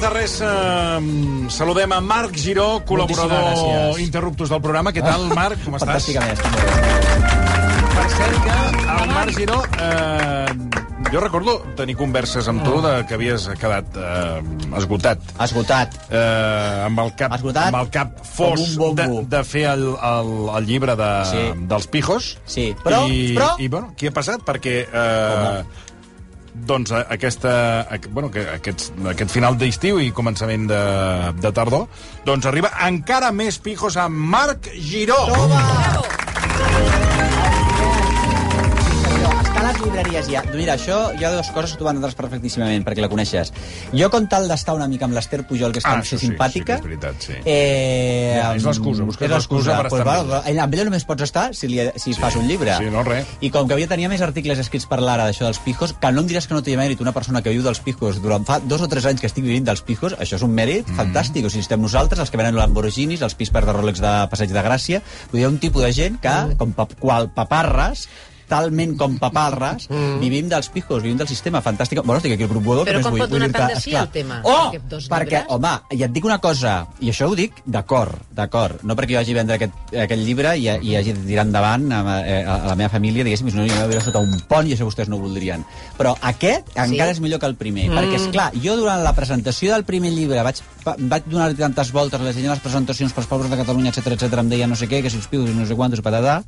de res, eh, saludem a Marc Giró, col·laborador gràcies. interruptus del programa. Què tal, Marc? Com estàs? Fantàsticament, estic molt bé. Per cert que el Marc Giró... Eh, jo recordo tenir converses amb tu de que havies quedat eh, esgotat. Esgotat. Eh, amb el cap, Esgotat? amb el cap fos Com un de, bombo. de fer el, el, el llibre de, Sí. dels pijos. Sí, però- I, però- I, bueno, què ha passat? Perquè... Eh, doncs a- aquesta, a- bueno, que aquest, aquest final d'estiu i començament de, de tardor, doncs arriba encara més pijos amb Marc Giró. Toma! Està a les llibreries ja. Mira, això, hi ha dues coses que tu vas perfectíssimament, perquè la coneixes. Jo, com tal d'estar una mica amb l'Ester Pujol, que és Ah, tan això sí, simpàtica... sí que és veritat, sí. Eh, Ja, és l'excusa, busques és l'excusa per Pues, estar amb va, eh, amb ella només pots estar si, li, si fas un llibre. sí, no, res. I com que havia tenia més articles escrits per l'ara d'això dels pijos, que no em diràs que no té mèrit una persona que viu dels pijos durant fa dos o tres anys que estic vivint dels pijos, això és un mèrit Mm. fantàstic. O sigui, estem nosaltres, els que venen Lamborghinis, els pispers de Rolex de Passeig de Gràcia, vull dir, hi ha un tipus de gent que, Mm. com pa, qual paparres, talment com paparres, vivim dels pijos, vivim del sistema, fantàstic. Bueno, estic aquí el grup Godó, Mm. Però què més com vull? pot Vull donar dir-te, tant de sí esclar. el tema? Oh, Perquè dos perquè, llibres? home, i et dic una cosa, i això ho dic d'acord, d'acord, no perquè jo hagi de vendre aquest, aquest llibre i, i hagi de tirar endavant a, ma- eh, a, a la meva família, diguéssim, si no, jo m'he de veure sota un pont i això vostès no ho voldrien. Però aquest encara és millor que el primer, perquè, és clar jo durant la presentació del primer llibre vaig, pa- vaig donar tantes voltes, les les presentacions pels pobles de Catalunya, etc etc em deia no sé què, que si els pius i no sé quantos, patatà,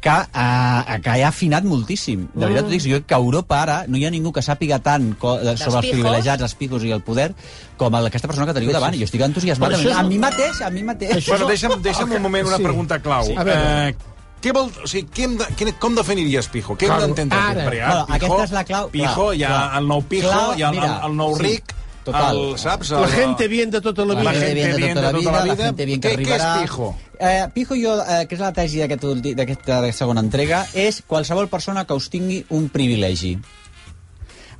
que, eh, que he afinat moltíssim. De veritat, t'ho dic, jo crec que a Europa ara no hi ha ningú que sàpiga tant co, eh, sobre els pijos? privilegiats els pijos i el poder com el- aquesta persona que teniu davant. I jo estic entusiasmat. Però això és- A mi mateix, a mi mateix. Bueno, deixa'm, deixa'm un moment una Sí. pregunta clau. Sí. A veure. Eh, què vol, o sigui, què hem de, què, com definiries pijo? Què hem Claro, d'entendre? ara. Perquè hi ha Bueno, aquesta és la clau. Pijo, Clar, hi ha clar. el nou pijo, Clau, hi ha el, mira, el nou sí, ric, total. el, saps? La el- gente bien de tota la La vida. gent gente bien de tota la vida. la gente bien que Què- què és arribarà. pijo? Eh, pijo jo, eh, que és la tesi d'aquest ulti- d'aquesta segona entrega, és qualsevol persona que us tingui un privilegi.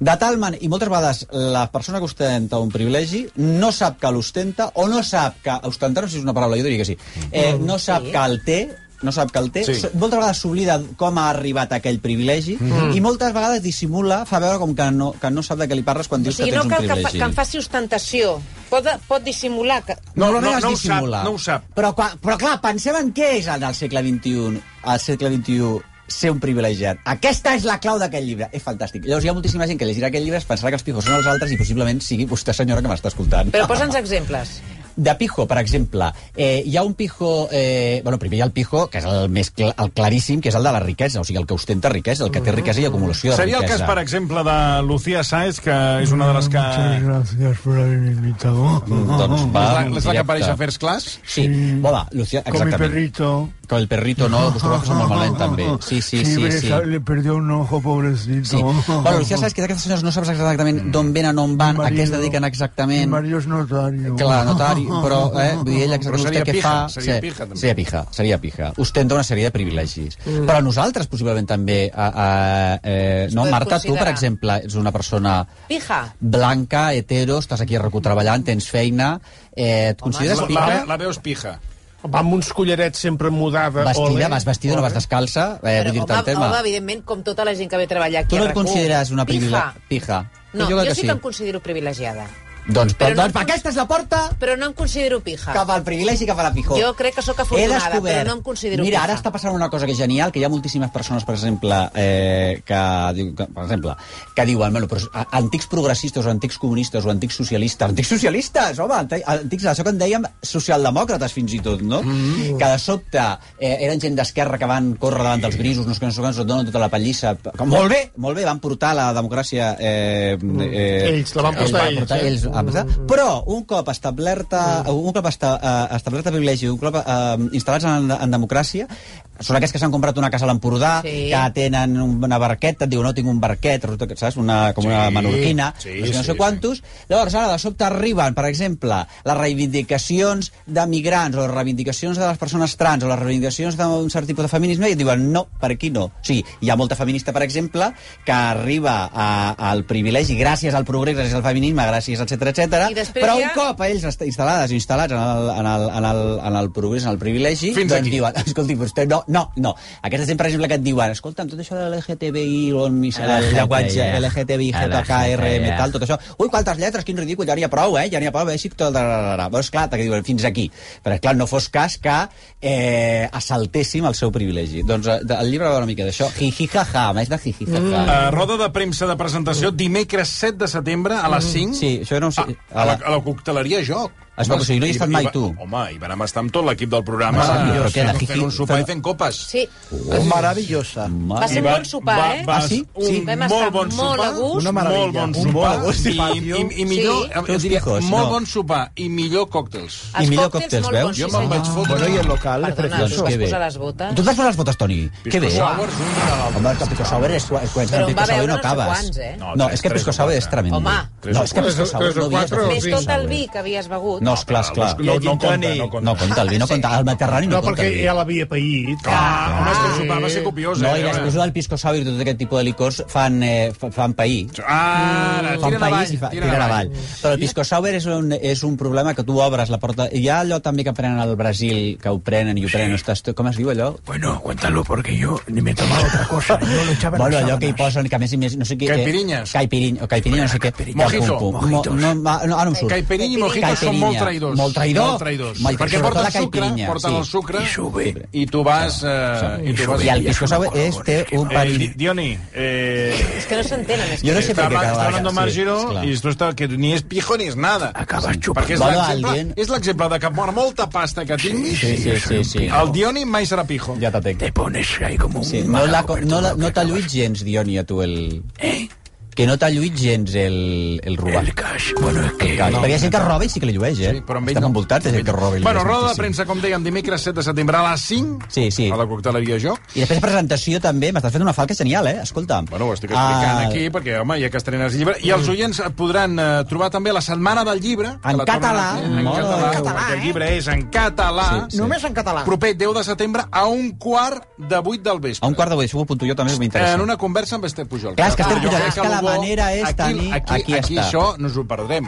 De tal manera, i moltes vegades la persona que ostenta un privilegi no sap que l'ostenta o no sap que... Ostentar no sé si és una paraula, jo diria que sí. Eh, Mm. no sap que el té, no sap que el té, Sí. sí. moltes vegades s'oblida com ha arribat a aquell privilegi Mm-hmm. i moltes vegades dissimula, fa veure com que no, que no sap de què li parles quan O dius sigui, que no tens cal un que, fa, privilegi. que em faci ostentació. Pot, pot dissimular que... No, No, no, no, no, no, no ho sap, dissimula. no ho sap. Però, qua- però clar, pensem en què és en el segle XXI, al segle XXI ser un privilegiat. Aquesta és la clau d'aquest llibre. És fantàstic. Llavors hi ha moltíssima gent que llegirà aquest llibre es pensarà que els pijos són els altres i possiblement sigui vostè, senyora, que m'està escoltant. Però posa'ns exemples. De pijo, per exemple, eh, hi ha un pijo... Eh, bueno, primer hi ha el pijo, que és el més cl el claríssim, que és el de la riquesa, o sigui, el que ostenta riquesa, el que té riquesa i acumulació de Seria el riquesa. cas, per exemple, de Lucía Sáez, que és una de les que... Muchas gracias por haberme invitado. Mm, Doncs va, És la, és la que directe. apareix a First Class? Sí, Sí. Mm. Bola, Lucía, Con mi exactament. perrito. Mm, Con el perrito, no, vostè ho va passar molt malament, també. Sí, sí, sí, ves, sí. Le perdió un ojo, pobrecito. Sí. Bueno, Lucía, saps que d'aquestes senyors no saps Mm. exactament d'on venen, on van, a què es dediquen Mi exactament. marido es notario. Clar, notari, però eh, vull dir, Però ella exactament seria què pija, fa... seria pija, també. Seria pija, seria pija. Ostenta una sèrie de privilegis. Mm. Però nosaltres, possiblement, també... A, a, eh, no, podem Marta, tu, per considerar. exemple, ets una persona Pija. blanca, hetero, estàs aquí recontreballant, tens feina... Eh, et La, consideres la, pija? la veus pija. Va amb uns collarets sempre mudada. Vestida, vas vestida, no vas descalça? Eh, Però, vull dir-te el home, tema. home, evidentment, com tota la gent que ve a treballar aquí tu no a et RAC1. consideres una Pija. privilegiada? Pija. No, jo, crec sí que em considero privilegiada. Doncs, Però però, no- doncs, aquesta és la porta Però no em considero pija. cap al privilegi, cap a la pijó. Jo crec que sóc afortunada, He descobert- però no em considero Mira, pija. ara està passant una cosa que és genial, que hi ha moltíssimes persones, per exemple, eh, que, diu- que, per exemple, que diuen, bueno, però a- antics progressistes o antics comunistes o antics socialistes, antics socialistes, home, anti- antics, això que en dèiem socialdemòcrates fins i tot, no? Mm. Que de sobte eh, eren gent d'esquerra que van córrer davant dels grisos, no sé què, no sé què, ens donen tota la pallissa. Que, molt bé, molt bé, van portar la democràcia... Eh, eh, Mm. Ells, la van portar van ells, portar eh? Mm, ells, a pesar. Però un cop establerta, un cop esta, eh, establerta privilegi, un cop eh, instal·lats en, en democràcia, són aquests que s'han comprat una casa a l'Empordà, Sí. que tenen una barqueta, et diu, no tinc un barquet, resulta que, saps, una, com una Sí, menorquina, sí, no sé, no sí, sé quantos. Llavors, ara, de sobte arriben, per exemple, les reivindicacions de migrants, o les reivindicacions de les persones trans, o les reivindicacions d'un cert tipus de feminisme, i et diuen, no, per aquí no. O sigui, hi ha molta feminista, per exemple, que arriba a, al privilegi gràcies al progrés, gràcies al feminisme, gràcies, etc etc. I després però hi un ha- cop ells est- instal·lades, instal·lats en el, en el, en el, en el progrés, en el privilegi, Fins doncs aquí. diuen, escolti, vostè no, no, no. Aquesta gent, per exemple, que et diuen, escolta'm, tot això de l'LGTBI, on mi serà el LGTBI, llenguatge, ja. LGTBI, GTKR, LGTBI, ja. metal, tot això. Ui, quantes lletres, quin ridícul, ja n'hi ha prou, eh? Ja n'hi ha prou, eh? Sí, tot... Veus, clar, que diuen, fins aquí. Però, clar, no fos cas que eh, assaltéssim el seu privilegi. Doncs eh, de- el llibre va una mica d'això. Hi, hi, ha, ha, més de hi, hi, ha, ha. Uh, roda de premsa de presentació dimecres 7 de setembre a les 5. Mm, Sí, això no ho sé. A, a, la, a la cocteleria Joc. Es veu que sí, no hi has estat mai, va- tu. Home, hi vam estar amb tot l'equip del programa. Ah, però què, la fent, jiji- fent un sopar fent- i fent copes. Sí. Oh, Maravillosa. Va ser I un bon sopar, va, eh? Va, Ah, sí? Sí. Vam molt estar bon molt sopar, a gust. Una meravella. Molt bon Un sopar. molt a gust, I, i, patio. i millor, Sí. eh, jo Tots diria, pijos, molt no. bon sopar i millor còctels. I Els millor còctels còctels, molt veus? bons, Jo sí, me'n senyor. vaig fotre. Bueno, y el local es Perdona, tu precioso. Doncs vas que bé. posar les botes? Tu et vas posar les botes, Toni? Que bé. Sours, un regal. Home, el Pisco Sour és... quan- Quan Però el en Pisco va Sour veure no no sé acabes. quants, eh? No, No, tres, és que el tres Pisco o Sour quatre. és tremendo. Home. Tres No, o és que el quatre. Pisco Sour Tres o no havies quatre de o fer Més Sí, Pisco tot el Sour. vi que havies begut. No, esclar, esclar. No, no, no compta, Toni. no compta. No compta el vi, no compta. El Mediterrani no No, compta perquè el vi. ja l'havia paït. Ah, home, és que el sopar va ser copiós, No, eh? i després del Pisco Sour i tot aquest tipus de licors fan, eh, fa- fan pair. Ara, Fa un tira país avall, i fa, tira avall. Però el pisco sour és un, és un problema que tu obres la porta... Hi ha allò també que prenen al Brasil, que ho prenen i ho prenen... Estàs, tu- com es diu allò? Bueno, cuéntalo porque yo ni me he tomado otra cosa. Yo lo echaba en Bueno, las allò que hi sábanas. posen, que a més i més... No sé què, eh, Caipirinhas. Caipirin, o caipirinha, no sé què. Mojito, Pum, pum. mojitos. Mo, no, ma- no, ara no em surt. Caipirinha i Mojitos són Caipirinha. molt traïdors. Molt traïdor? Molt traïdors. Molt- Perquè sobretot porten la sucre, caipirinha, porten sí. el sucre Y sube. i tu vas... Eh, i tu vas I el pisco sour és, té un Eh, perill... Di- Dioni, eh, És que no s'entenen, és Jo que... no sé está, por qué habla- cada está vaca, hablando sí, Marc Giró claro. y esto está, que ni es pijo ni es nada. Acabas chupando. Perquè és Bueno, l'exemple, alguien- és l'exemple de que per molta pasta que tinguis, Sí, sí, sí, sí. el Dioni mai serà pijo. Ja t'atenc. Te pones ahí como un... Sí, no la, malaco, no, la, perdón, no que t'ha acabas lluït gens, Dioni, a tu el... Eh? Que no t'ha lluït gens el, el robar. El cash. Bueno, es que... Clar, Perquè hi ha gent que roba i sí que li llueix, eh? Sí, però amb ell Estem no. envoltats de gent que roba i li Bueno, llueix roda de moltíssim. premsa, com dèiem, dimecres 7 de setembre a les 5, Sí, sí. a la cocteleria Joc. I després presentació també, m'estàs fent una falca genial, eh? Escolta'm. Bueno, ho estic explicant Ah, aquí, perquè, home, ja que estrenes el llibre... I els oients podran eh, trobar també la Setmana del Llibre. que En la tornen català. a fer En Molt català, bé. perquè el llibre és en català. Sí, sí. Només en català. Ah. Proper 10 de setembre a un quart de 8 del vespre. A un quart de vuit, això ho apunto jo, també m'interessa. En una conversa amb Esther Pujol. Ah, Clar, és que Esther Jo Pujol, crec és que la el bo- manera és aquí, tenir- Aquí, aquí aquí, aquí està. això no ens ho perdrem.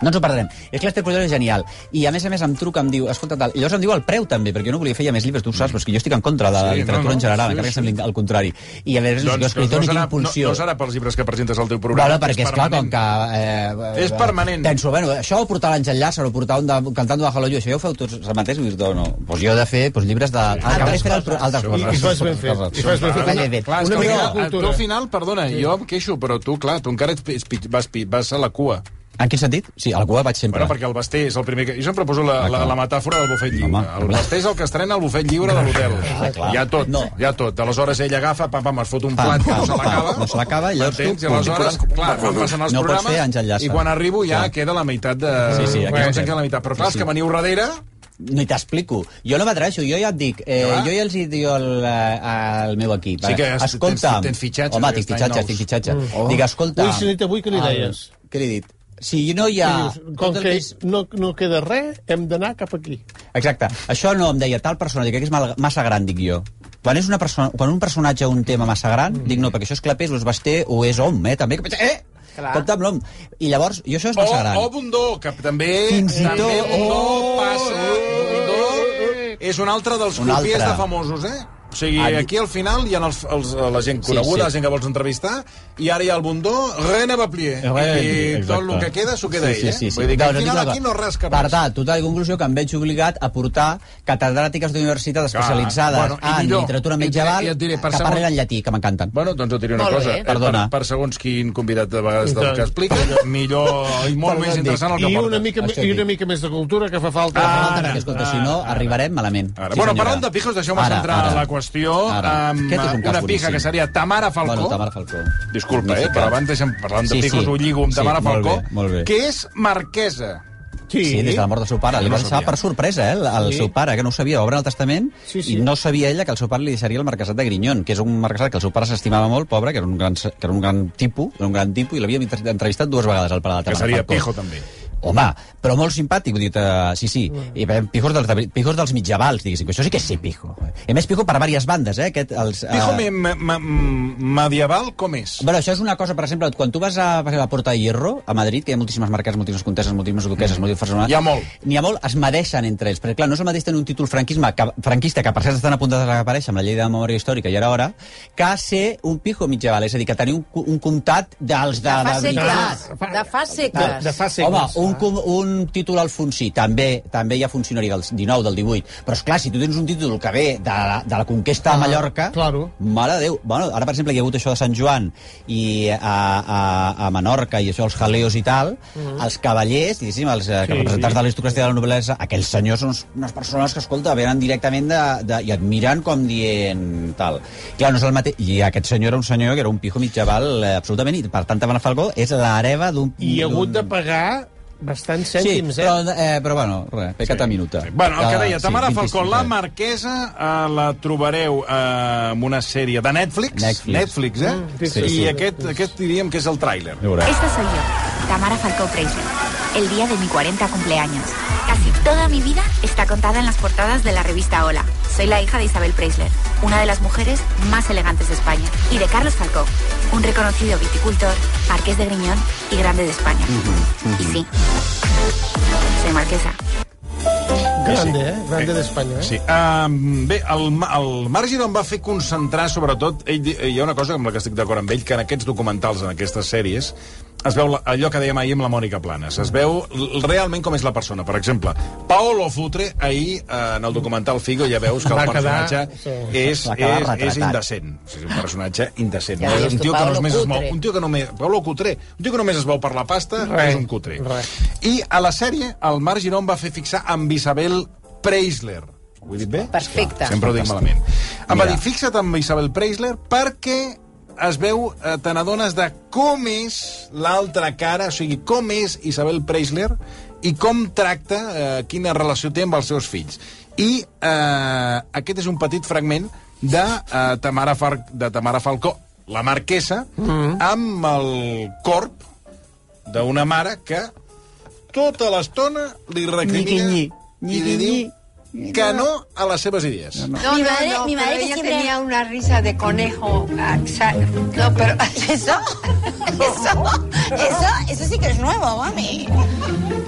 No ens ho perdrem. És que l'Ester Pujol és genial. I a més a més em truca, em diu, escolta, tal. I llavors em diu el preu també, perquè jo no volia fer ja més llibres, tu ho saps, però és que jo estic en contra de la Sí, literatura no, no, en general, sí, encara sí. Doncs que sembli el contrari. I a veure, jo escritor no, Doncs no tinc serà, no, impulsió. no serà pels llibres que presentes al teu programa. Bueno, perquè, és clar, com permanent. que... Eh, És permanent. Penso, bueno, això ho portar l'Àngel Llàcer, o portar un de, cantant de Hello You, això ja ho feu tots els mateixos, dius, no, no. Pues jo he de fer pues, llibres de... Sí. Altres coses. Altres I, i coses. fas ben fet. I fas ben fet. Bé, bé, Clar, és Una que mica al de final- cultura. Tu al final, perdona, jo em queixo, però tu, clar, tu encara ets, pi- pi- vas, pi- vas a la cua. En quin sentit? Sí, a la cua vaig sempre. Bueno, perquè el Basté és el primer que... Jo sempre poso la, la, la metàfora del bufet lliure. Home. el Basté és el que estrena el bufet lliure de l'hotel. Ah, clar. Hi ha tot, No. hi ha tot. Aleshores ell agafa, pam, pam, es fot un Pam, plat, pam, no se l'acaba. pam, no se l'acaba, i llavors Ah, tu, M'entens? I pum, aleshores, pum, clar, quan passen els No pots fer Àngel programes, Llàcer. i quan arribo ja Clar. queda la meitat de... Sí, sí, aquí ja em queda. queda la meitat. Però clar, Sí, és sí. que veniu darrere... Ni t'explico. Jo no m'atreveixo, jo ja et dic, eh, Ja va. jo ja els hi diu al, eh, al meu equip. Sí que eh, has- escolta'm, tens- tens fitxatges Home, aquest tinc any nous. Mm. fitxatges, tinc fitxatges. Dic, escolta... Ui, si n'hi ha avui, què li el- deies? Què li he dit? Si no hi ha... I dius, tot Com el que és- no, no queda res, hem d'anar cap aquí. Exacte. Això no em deia tal persona, dic que és mal- massa gran, dic jo. Quan, és una persona, quan un personatge un tema massa gran, mm. dic no, perquè això és clapés, o és basté, o és hom, eh, també. que- Eh! Clar. Compte amb l'hom. I llavors, jo això és O, massa gran. o Bundó, que també... Fins i també tot- Bundó Oh! passa... Bundó és un altre dels Un crupiers altre. de famosos, eh? O sigui, Ah, di- aquí al final hi ha els, els, eh, la gent Sí, coneguda, sí. la gent que vols entrevistar, i ara hi ha el Bundó, René Baplier. Res, I, i tot el exacte. que queda s'ho queda sí, sí, ell, eh? sí, sí. Vull dir que No, al no, final clar. aquí no rasca Per res. tant, total i conclusió que em veig obligat a portar catedràtiques d'universitats Clar. especialitzades Bueno, i en millor, literatura i et diré- medieval i et diré, per que segon- parlen en llatí, que m'encanten. Bueno, doncs jo et diré una Molt cosa. bé. Eh, Perdona. Per, per segons quin convidat de vegades del tant. que explica, millor i molt Perdó, més dic. interessant el que I porta. una, mica, Això I dic. una mica més de cultura que fa falta. Fa falta, perquè, escolta, si no, arribarem malament. Ara. Sí, bueno, senyora. parlant de pijos, deixeu-me Ara, centrar ara. la qüestió Ara. amb Aquest és un cas una pija boníssim. que seria Tamara Falcó. Bueno, Tamara Falcó. Disculpa, eh, Magnífica. però abans deixem parlant de Sí, pijos, sí. ho lligo amb Sí, Tamara molt Falcó, bé, molt bé. que és marquesa. Sí, Sí, des de la mort del seu pare. Li No va ho deixar sabia. per sorpresa, eh, el- el Sí. seu pare, que no ho sabia. Obre el testament Sí, sí. i no sabia ella que el seu pare li deixaria el marquesat de Grinyon, que és un marquesat que el seu pare s'estimava molt, pobre, que era un gran, que era un gran tipus, era un gran tipus, i l'havia entrevistat dues vegades al pare de la Que Tamara seria Falcó. pijo, també. Home, però molt simpàtic, vull dir, eh, sí, sí, i veiem pijos dels, de- pijos dels mitjavals, diguéssim, que això sí que és ser pijo. I a més, pijo per diverses bandes, eh? Aquest, els, eh, Dijo me- me- me- medieval com és? Bueno, això és una cosa, per exemple, quan tu vas a, per exemple, a Porta Hierro, a Madrid, que hi ha moltíssimes mercats, moltíssimes contestes, moltíssimes duqueses, mm. moltíssimes persones... Hi ha molt. N'hi ha molt, es medeixen entre ells, perquè, clar, no es medeix tenir un títol franquisme, que, franquista, que per cert estan apuntats a desaparèixer amb la llei de memòria històrica, i ara hora, que ser un pijo mitjaval, és a dir, que tenir un, cu- un comptat dels de... De de fa segles. veritat. De fa segles. de fa segles. Ah. Home, un, com- un títol alfonsí, també també hi ha funcionari del 19, del 18, però és clar, si tu tens un títol que ve de la, de la conquesta de Ah, Mallorca, claro. mare de Déu. Bueno, ara, per exemple, que hi ha hagut això de Sant Joan i a, a, a Menorca i això, els jaleos i tal, els cavallers, diguéssim, els eh, Mm. Sí, representants sí. de l'aristocràcia de la noblesa, aquells senyors són uns- unes persones que, escolta, venen directament de, de, i et miren com dient tal. Clar, no és el mateix. I aquest senyor era un senyor que era un pijo mitjaval eh, absolutament, i per tant, Tabana Falcó és l'hereva d'un... I ha hagut de d'un- pagar bastants Sí, cèntims, però, eh, però bueno, res, pecata sí. minuta. Ah, Bueno, el que deia, sí, Tamara 25, Falcón, la eh. marquesa, eh, la trobareu eh, en una sèrie de Netflix. Netflix. Netflix, eh? Mm, sí, I sí. Aquest, aquest diríem que és el tràiler. Ja veuràs. Esta soy yo, Tamara Falcó Fraser. El día de mi 40 cumpleaños. Casi toda mi vida está contada en las portadas de la revista Hola. Soy la hija de Isabel Preisler, una de las mujeres más elegantes de España, y de Carlos Falcó, un reconocido viticultor, marqués de Griñón y grande de España. Y sí, soy marquesa. Grande, eh? Grande d'Espanya, eh? Sí. Um, bé, el, ma- el marge d'on va fer concentrar, sobretot, ell, di- hi ha una cosa amb la que estic d'acord amb ell, que en aquests documentals, en aquestes sèries, es veu la- allò que dèiem ahir amb la Mònica Planes. Es veu l- realment com és la persona. Per exemple, Paolo Futre, ahir, eh, en el documental Figo, ja veus que Va el quedar- personatge sí. és, Va quedar és, és retratat. indecent. És un personatge indecent. Ja No? dius un tu, tio que Paolo només es mou, Cutre. un tio que només... Paolo Cutre. Un tio que només es veu per la pasta Res, és un cutre. res. I a la sèrie, el Marc Girón va fer fixar amb Isabel Preisler. Ho he dit bé? Perfecte. Sempre ho dic malament. Em va Mira. dir, fixa't amb Isabel Preisler perquè es veu, eh, te n'adones de com és l'altra cara, o sigui, com és Isabel Preisler i com tracta, eh, quina relació té amb els seus fills. I eh, aquest és un petit fragment de, eh, Tamara, Far de Tamara Falcó, la marquesa, amb el corp d'una mare que tota l'estona li recrimina Nyiqui, nyi. i li Nyiqui, diu que no a les seves idees. No, mi madre, mi madre que siempre... tenía una risa de conejo. ah, sa- No, pero eso, eso, eso, eso sí que es nuevo, mami.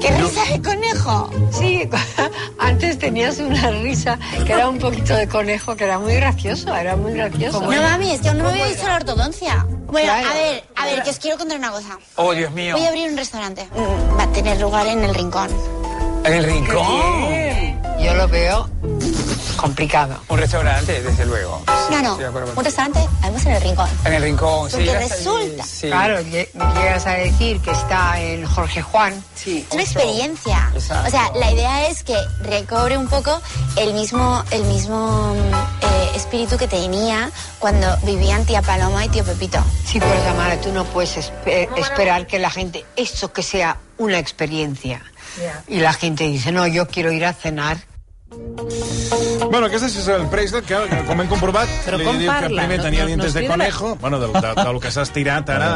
¿Qué risa de conejo? Sí, antes tenías una risa que era un poquito de conejo, que era muy gracioso, era muy gracioso. No, mami, es que aún no me había visto la ortodoncia. Bueno, Claro. a ver, a ver, que os quiero contar una cosa. Oh, Dios mío. Voy a abrir un restaurante. Mm, Va a tener lugar en el rincón. El rincón. Yo lo veo complicado. Un restaurante, desde luego. Sí, No, no, estoy de acuerdo un contigo. restaurante, además en el rincón. En el rincón, sí. Porque ya está bien, resulta. sí. Claro, lle- llegas a decir que está en Jorge Juan. Sí. Es una experiencia. Exacto. O sea, la idea es que recobre un poco el mismo, el mismo mm, eh, espíritu que tenía cuando vivían tía Paloma y tío Pepito. Sí, pero Tamara, tú no puedes eh, espe- esperar que la gente, esto que sea una experiencia. Y la gente dice, no, yo quiero ir a cenar. Bueno, aquesta és el Preisler, que, com hem comprovat, Però li com diu que parla? primer No- tenia no- no dientes es de crida la- conejo, bueno, del, del, del que s'ha estirat ara,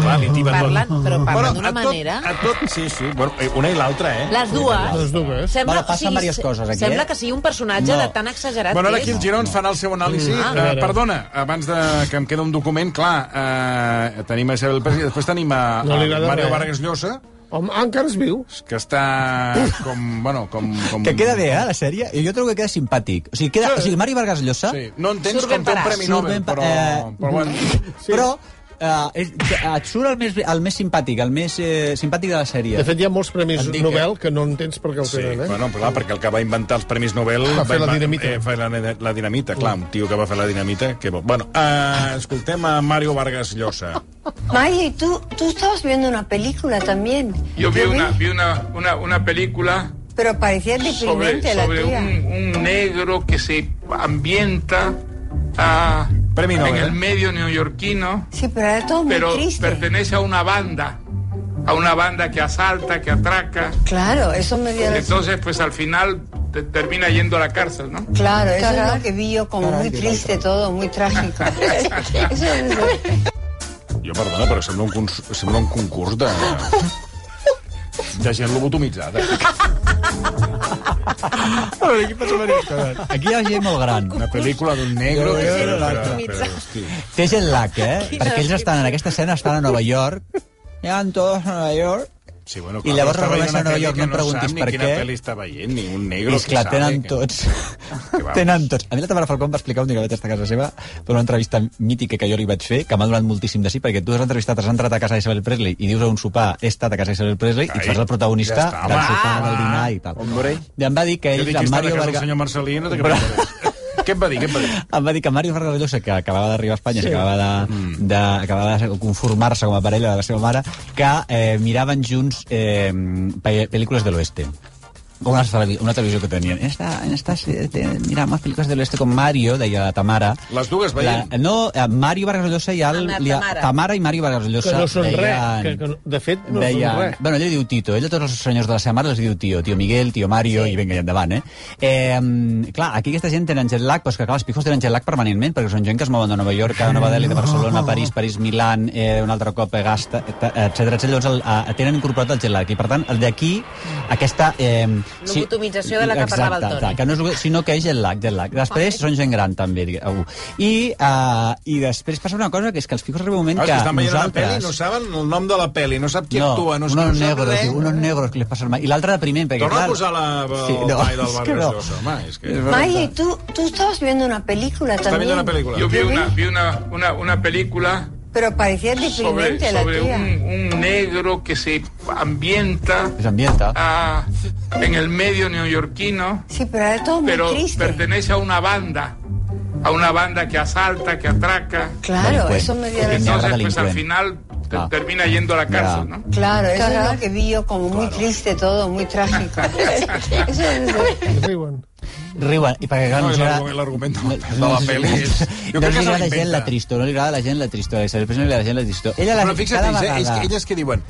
clar, li tiba tot. Parlen, però parlen Bueno, d'una a tot- manera... A tot, sí, sí, bueno, eh, una i l'altra, eh? Les dues... Les dues. Sembla, Bueno, passen o sigui, diverses coses, aquí, Sembla eh? que sigui un personatge No. de tan exagerat Bueno, ara que aquí el és. Giró ens farà el seu anàlisi. Mm, Mm, a veure. perdona, abans de, que em queda un document, clar, eh, tenim a Isabel Pérez i després tenim a, No a li agrada Mario res. Vargas Llosa, Home, ah, encara es viu. que està com, bueno, com... com... Que queda bé, eh, la sèrie? Jo trobo que queda simpàtic. O sigui, queda, Sí. o sigui Mari Vargas Llosa, Sí, no entens Surt com ben té un parat. Premi Surt Nobel, ben pa- però, eh, però bueno... sí. però eh, és, et surt el més, el més simpàtic, el més eh, simpàtic de la sèrie. De fet, hi ha molts premis Et dic, eh? Nobel que no entens per què el Sí, tenen, eh? bueno, però clar, perquè el que va inventar els Premis Nobel... Va fer la inven- dinamita. Eh, fer la, la dinamita, clar, un tio que va fer la dinamita... Que... bo. Bueno, eh, escoltem a Mario Vargas Llosa. Maggie, tú, tú estabas viendo una película también. Yo vi ¿Lo una, vi una, una, una película Pero parecía sobre, deprimente la sobre tía. un, un negro que se ambienta ah, Premio en Nobel. el medio neoyorquino, Sí, pero era todo muy pero triste. pertenece a una banda, a una banda que asalta, que atraca. Claro, eso me dio la- Entonces, pues al final te- termina yendo a la cárcel, ¿no? Claro, eso es lo que vi yo como muy triste todo, muy trágico. Eso es lo- Jo, perdona, però sembla un, cons... sembla un concurs de... de gent lobotomitzada. A veure, aquí passen diverses coses. Aquí hi ha gent molt gran. Una pel·lícula d'un negro... Jo, jo, que- jo, però- jo, però- jo. hosti. Té jet lag, eh? Quina Perquè ells vida. estan en aquesta escena, estan a Nova York. Ja van tots a Nova York. Sí, bueno, I clar, llavors però està reconeixen veient una Nova York, pel·li que no em preguntis sap ni per quina què. pel·li està veient, ni un negro... I esclar, que sabe tenen que- tots. Que vamos. tenen tots. A mi la Tamara Falcón va explicar un dia que vaig estar a casa seva per una entrevista mítica que jo li vaig fer, que m'ha donat moltíssim de sí, perquè tu has entrevistat, has entrat a casa d'Isabel Presley i dius a un sopar, he estat a casa d'Isabel Presley i Ai, et fas el protagonista ja està, del home. sopar, del dinar i tal. I em va dir que Jo ells, dic que amb està a la Mario casa del Vargas... senyor Marcelí, no sé què Però- passa. Què em va dir, què em va dir? Em va dir que Mario Vargas Llosa, que acabava d'arribar a Espanya, sí. acabava de, Mm. de, acabava de conformar-se com a parella de la seva mare, que eh, miraven junts eh, pe- pel·lícules de l'oeste. Una, televi- una televisió que tenien. En esta, en esta, se- te- miramos películas del oeste con Mario, deia la Tamara. Les dues veient? Ah, La, no, eh, Mario Vargas Llosa i el... Ana li- Tamara. Tamara i Mario Vargas Llosa. Que no són deien- res. Que, que, no- de fet, no deia, són res. Bueno, ell li diu Tito, ell a tots els senyors de la seva mare els diu tio, tio Miguel, tio Mario, sí. i vinga, i endavant, eh? eh? Clar, aquí aquesta gent tenen jet lag, però és que clar, els pijos tenen jet lag permanentment, perquè són gent que es mouen de Nova York, a Nova Delhi, de Barcelona, a París, París, Milan, eh, un altre cop a Gasta, etc. Llavors el, a, tenen incorporat el jet lag, i per tant, el d'aquí, aquesta... Eh, Lobotomització de la que parlava el Exacte, Toni. Ah, que no és, sinó que és jet lag, jet lag. Després són gent gran, també, digue- algú. I, uh, I després passa una cosa, que és que els pijos arriba un moment Ah, és que que estan veient una nosaltres... pel·li, no saben el nom de la pel·li, no sap qui actua, no, unos no sap negros, res. diu, unos negros que les passen mal. I l'altre depriment, perquè Torna clar... a posar la, el sí, no, del és barri que no. no. home, és que... Maggie, tú, tú estabas viendo una película Està también. viendo la pel·lícula. Yo vi una, vi una, una, una película Pero parecía sobre, deprimente la sobre tía. un, un negro que se ambienta Es ambienta. ah, en el medio neoyorquino, Sí, pero era todo pero muy triste. pertenece a una banda, a una banda que asalta, que atraca. Claro, Delincuente. eso me dio Que la no- Entonces, Negro pues al delincuente. final te- Ah. termina yendo a la cárcel, Ya. ¿no? Claro, eso es lo que vi yo como muy triste todo, muy trágico. Eso es- Riuen. Riuen, i perquè clar, No, no, i els agrada- l'argument- l'argument de la- no, de no la els- pel·li és- jo No crec li que se agrada l'inventa. gent la tristor, no li agrada a la gent la tristor, a Isabel Presley no li agrada a la gent la tristor. Ella, la, Però fixa't, cada ells, eh, vegada... ells, elles que diuen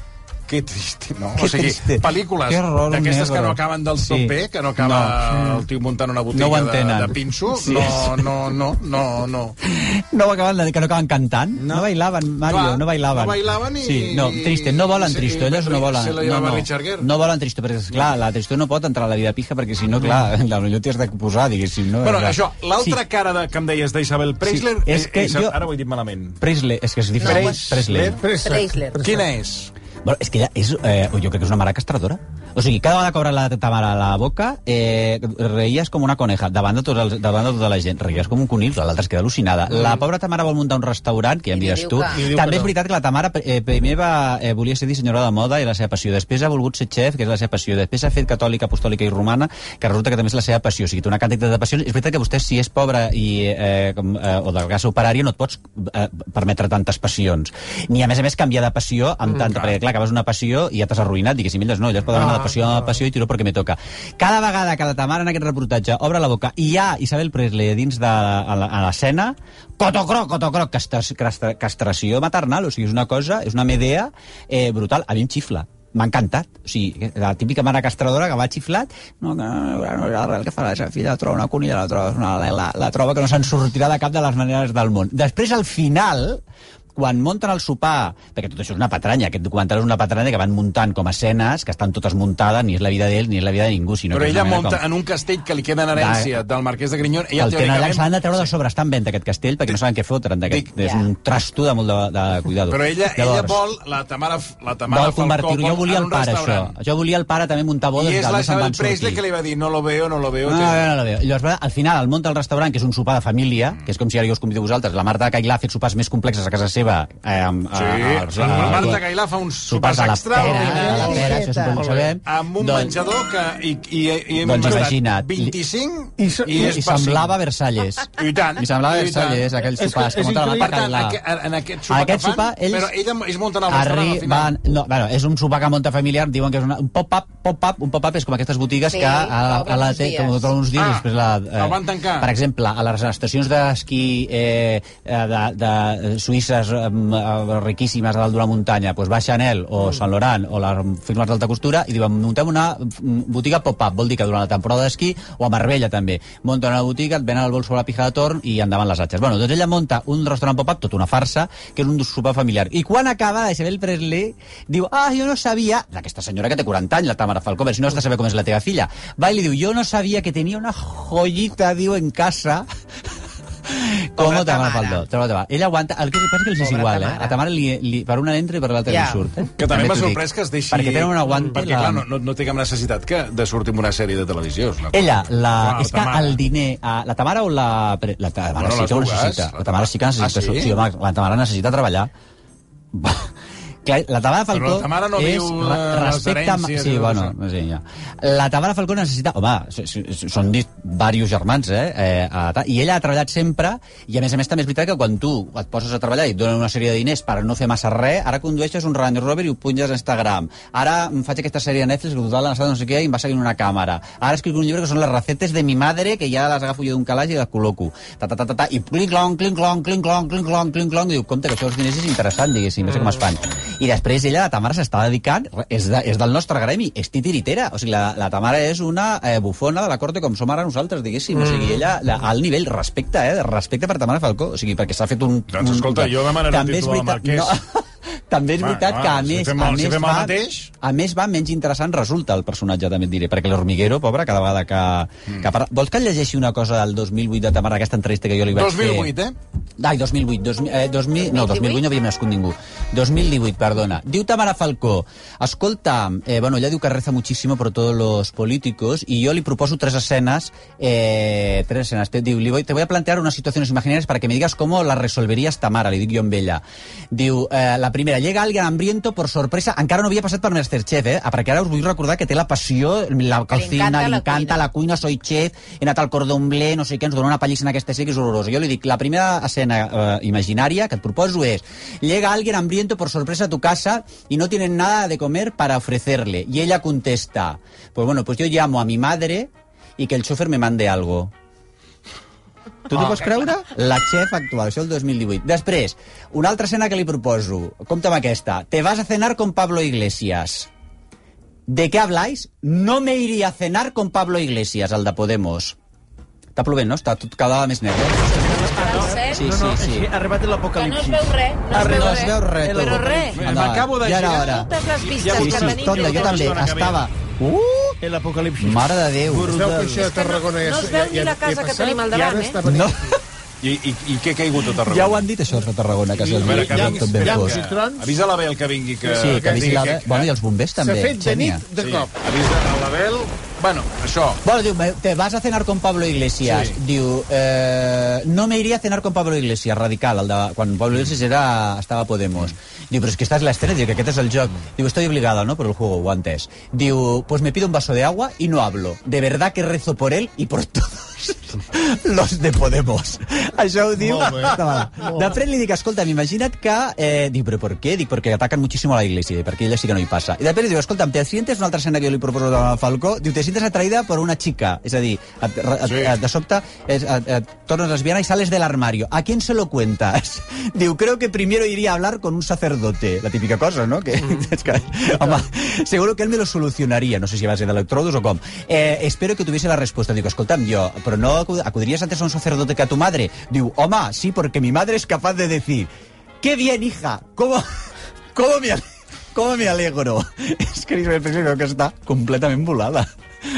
que triste, no? Que o sigui, triste. pel·lícules Que horror, d'aquestes que negro. no acaben del Sí. sí. sopé, que no acaba no. el tio muntant una botiga No ho de, entenen. de pinso, Sí. sí. no, no, no, no, no. No acaben, que no acaben cantant. No, No. bailaven, Mario, Clar, no bailaven. no bailaven i- Sí, no, triste, no volen Sí, tristo, ellos no se volen... la no, llevaba no, Richard Gere. no volen tristo, perquè, esclar, la tristor no pot entrar a la vida pija, perquè si no, clar, la millor t'hi has de posar, diguéssim. No? Bueno, Clar. això, l'altra sí. cara de, que em deies d'Isabel Preisler... Sí, és eh, que Isa- jo- Ara ho he dit malament. Presley, és que és diferent. Preis- Presley. Preisler. Quina és? Bueno, és que ella és, eh, jo crec que és una mare castradora. O sigui, cada vegada que obre la Tamara la boca, eh, reies com una coneja, davant de, tots els, davant de tota la gent. Reies com un conill, l'altra es queda al·lucinada. La pobra Tamara vol muntar un restaurant, que ja em I li diràs diu tu. que- I li diu que També és no. veritat que la Tamara eh, primer va, eh, volia ser dissenyadora de moda i la seva passió. Després ha volgut ser xef, que és la seva passió. Després ha fet catòlica, apostòlica i romana, que resulta que també és la seva passió. O sigui, té una quantitat de passions. És veritat que vostè, si és pobre i, eh, com, eh, o del gas operària, no et pots eh, permetre tantes passions. Ni, a més a més, canviar de passió amb tanta... perquè, clar, acabes una passió i ja t'has arruïnat, diguéssim, elles no, elles poden anar de passió a passió i tiro perquè me toca. Cada vegada que la Tamara en aquest reportatge obre la boca i hi ha Isabel Presley dins de a la- a l'escena, cotocroc, cotocroc, castra- castra- castració maternal, o sigui, és una cosa, és una medea eh, brutal. A mi em xifla, m'ha encantat. O sigui, la típica mare castradora que va xiflat, no, que no, no, no, no, el que fa la seva filla, la troba una cunilla, la troba, una, la, la, la troba que no se'n sortirà de cap de les maneres del món. Després, al final, quan munten el sopar, perquè tot això és una patranya, aquest documental és una patranya que van muntant com a escenes, que estan totes muntades, ni és la vida d'ell ni és la vida de ningú, sinó Però que és ella una mena munta com- en un castell que li queda en herència del marquès de Grinyón. Ella, el que allà teòricament... s'han de treure de sobre, està en venda aquest castell, perquè no saben què fotre'n d'aquest. Dic- És un trasto de molt de, de cuidado. Però ella, ella Llavors, vol la Tamara, la Tamara vol Falcó convertir-ho. Jo vol en volia el un pare, això. restaurant. Jo volia el pare també muntar bodes. I és que la se'n Isabel van sortir. Presley que li va dir no lo veo, no lo veo. No, que- no, no, no, no. Llavors, va- al final, el món del restaurant, que és un sopar de família, Mm. que és com si ara jo us convido a vosaltres, la Marta Cailà ha fet sopars més complexes a casa seva. Eh, amb, Sí, la Marta Cailà fa uns ah, sopars sopars a la pera, a la extraordinaris. pera, això sempre ho sabem. Amb un Doncs- menjador que... I, i, i hem Doncs gastat imagina't. 25 I so- I, és i per cinc. semblava Versalles. I tant, I semblava i Versalles, tant. aquells És que sopars, és com la Per Marta tant, Cailà. aqu- en aquest sopar En aquest que fan, sopar, ells- però ella es munta en el restaurant al Arriben- final. no, bueno, és un sopar que munta familiar, diuen que és una, un pop-up, pop-up, un pop-up és com aquestes botigues Sí, que a, la- obren a la uns té, dies. com obren uns dies Ah, i després la... el van tancar. Per exemple, a les estacions d'esquí eh, eh, de, de suïsses um, riquíssimes a dalt d'una muntanya, doncs va Chanel Mm. o Saint Laurent o les firmes d'alta costura i diuen, muntem una mm, botiga pop-up, vol dir que durant la temporada d'esquí o a Marbella també, munten una botiga, et venen el bolso a la pija de torn i endavant les atxes. Bueno, doncs ella munta un restaurant pop-up, tota una farsa, que és un sopar familiar. I quan acaba la Isabel Presley, diu, ah, jo no sabia... Aquesta senyora que té 40 anys, la Tamara Falcó, però si no has de saber com és la teva filla. Va i li diu, jo no sabia que tenia una joyita, diu, en casa Com Pobra a Tamara Tamara. Falcó. Tamara, Tamara. Ella aguanta... El que passa és que els és Pobra igual, eh? Tamara. A Tamara li, li, per una entra i per l'altra Ja. li surt. Eh? Que també m'ha t'ho dic. sorprès que es deixi... Perquè tenen un aguant... Perquè, clar, no, no, no té cap necessitat que de sortir amb una sèrie de televisió. és una cosa. Ella, la, Clar, és que Tamara. el diner... A, la Tamara o la... Pre- La Tamara Bueno, sí les que ho dues. necessita. La Tamara sí que necessita... Ah, sí? so- sí? home, la Tamara necessita treballar. Va. Clar, la Tamara Falcó Però la Tamara no és... viu, ra- eh, les respecte a ma- herències Sí, i bueno, tot sí, ja. La Tamara Falcó necessita... Home, s- s- són dit diversos germans, eh? eh a, ta- I ella ha treballat sempre, i a més a més també és veritat que quan tu et poses a treballar i et donen una sèrie de diners per no fer massa res, ara condueixes un Range Rover i ho punges a Instagram. Ara em faig aquesta sèrie de Netflix que total han estat no sé què i em va seguint una càmera. Ara escric un llibre que són les recetes de mi madre que ja les agafo jo d'un calaix i les col·loco. Ta, ta, ta, ta, ta, I clinc, clonc, clinc, clonc, clinc, clonc, clinc, clonc, clinc, clonc, i diu, compte, que això dels diners és interessant, diguéssim, no sé com es fan. I després ella, la Tamara, s'està dedicant, és, de, és del nostre gremi, és titiritera. O sigui, la, la Tamara és una eh, bufona de la corte com som ara nosaltres, diguéssim. O Mm. sigui, ella, la, al nivell, respecte, eh? Respecte per Tamara Falcó. O sigui, perquè s'ha fet un... Doncs, un- escolta, jo demanaré un També és títol al Marquès. veritat- No, també és Va, veritat va, que a si més, fem a el- si més, fem el va, mateix. a més va menys interessant resulta el personatge, també et diré, perquè l'Hormiguero, pobre, cada vegada que... Mm. que parla... Vols que et llegeixi una cosa del 2008 de Tamara, aquesta entrevista que jo li vaig 2008, fer? eh? Ai, 2008, 2000, eh, 2000, no, 2008 28? no havia nascut ningú. 2018, perdona. Diu Tamara Falcó, escolta, eh, bueno, ella diu que reza muchísimo por todos los políticos y yo le proposo tres escenas, eh, tres escenas. Te, diu, li voy, te voy a plantear unas situaciones imaginarias para que me digas cómo las resolverías Tamara, li dic jo amb ella. Diu, eh, la primera, llega alguien hambriento por sorpresa, encara no havia passat per Masterchef, eh, perquè ara us vull recordar que té la passió, la calcina, encanta li la encanta cuina. la cuina, soy chef, he anat al cordon bleu, no sé què, ens dona una pallissa en aquesta sèrie que és horrorosa. Jo li dic, la primera escena eh, imaginària que et proposo és llega alguien hambriento por sorpresa a tu casa y no tienen nada de comer para ofrecerle. Y ella contesta, pues bueno, pues yo llamo a mi madre y que el chofer me mande algo. Tu Ah. t'ho pots creure? La xef actual, això el 2018. Després, una altra escena que li proposo. Compte amb aquesta. Te vas a cenar con Pablo Iglesias. ¿De qué habláis? No me iría a cenar con Pablo Iglesias, al de Podemos. Està plovent, no? Està tot cada vegada més net. Eh? Sí, No, sí, no, sí. sí. ha arribat Que no es l'apocalipsi. veu res, no es Arre, veu no res. Eh, es veu res. tu. Però res. Endavant. M'acabo de Ja era girar. hora. Totes les Ja pistes Sí, vull que sí, tonda, tenim... tota jo també estona que ve. estava... Uh! L'apocalipsi. Mare de Déu. Es veu que això de Tarragona ja no es veu ja- ni la ja casa he que passat tenim al i ara davant, eh? està venint No. aquí. I, i, I què ha caigut a Tarragona? Ja ho han dit, això, de Tarragona, que s'ha A veure, dit. que Ja, vingui- tot ben ja, fos. sí. que- Avisa l'Abel que vingui. Que, Sí, que avisi digui la... Bueno, i els bombers S'ha també. fet de Xènia. nit de Sí, cop. avisa a l'Abel... Bueno, això. Bueno, diu, me- te vas a cenar con Pablo Iglesias. Sí. Diu, eh, no me iría a cenar con Pablo Iglesias, radical, el de, quan Pablo Iglesias era, estava a Podemos. Diu, però és que esta és l'estrella, diu, que aquest és el joc. Diu, estoy obligada, ¿no?, por el juego, guantes. Diu, pues me pido un vaso de agua y no hablo. De verdad que rezo por él y por todos los de Podemos. Això ho diu. Molt bé. Estava- Després li dic, escolta, imagina't que... Eh, diu, però per què? Dic, perquè ataquen muchísimo a la iglesia, i perquè ella sí que no hi passa. I després li diu, escolta, te sientes una altra escena que jo li proposo a Falcó, diu, te sientes atraïda per una chica, és a dir, et, et, Sí. et, eh, de sobte et, et, et tornes lesbiana i sales del armario. ¿A quién se lo cuentas? Diu, creo que primero iría a hablar con un sacerdote. La típica cosa, ¿no? Que, és que, home, seguro que él me lo solucionaria. No sé si va ser d'electrodos o com. Eh, espero que tuviese la respuesta. Digo, escolta'm, jo, però no acu- acudirías antes a un sacerdote que a tu madre? Diu, home, sí, porque mi madre es capaz de decir, qué bien, hija, cómo, cómo me... ale- ¿Cómo me alegro? Es que Isabel Presley veo que está completamente volada.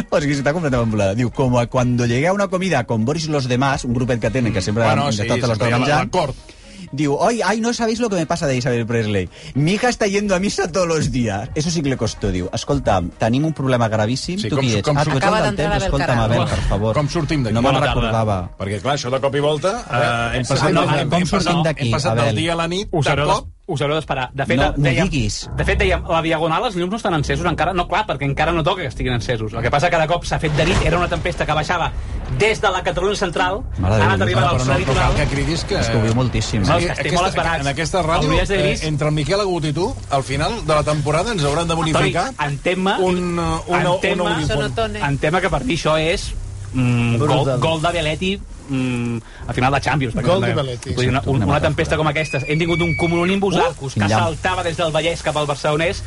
O sigui, està completament volada. Diu, com a quan llegué a una comida con Boris y los demás, un grupet que tenen, que sempre Mm. Bueno, han sí, estat a sempre hi ha l'estona menjant, l'acord. diu, ay, ay, no sabéis lo que me pasa de Isabel Presley. Mi hija está yendo a misa todos los días. Eso sí que le costó, diu. Escolta, tenim un problema gravíssim. Sí, tu com- qui ets? com- ah, tu ets Acaba el del d'entrar temps. l'Abel Escolta'm, Caram. Abel, per favor. Com sortim d'aquí? No me'n Bona tarda. recordava. Perquè, clar, això de cop i volta... Eh, hem passat, no, del- com hem, hem sortim passat- d'aquí, hem passat Abel? del dia a la nit, Us de haureu, cop... des- us haureu d'esperar. De fet, No- no dèiem, diguis. de fet, dèiem, la diagonal, els llums no estan encesos encara. No, clar, perquè encara no toca que estiguin encesos. El que passa que de cop s'ha fet de nit, era una tempesta que baixava des de la Catalunya central, Mare de ha Déu, anat arribant Ah, Però al no, Serà no cal Litoral. que cridis que... És que ho viu moltíssim. Sí, No, estic molt esperat. en aquesta ràdio, Hauries de dir- eh, entre el Miquel Agut i tu, al final de la temporada ens hauran de Toni, bonificar en tema... un, eh, una, en una tema, uniforme. Sonotone. en tema que per mi això és mm, gol, Brutal. gol de Belletti mm, a final de Champions. perquè Gol no- de Belletti. Vull dir, Una, una, una tempesta com aquesta. Hem tingut un cumulonimbus uh, arcus que llamp. saltava des del Vallès cap al Barcelonès.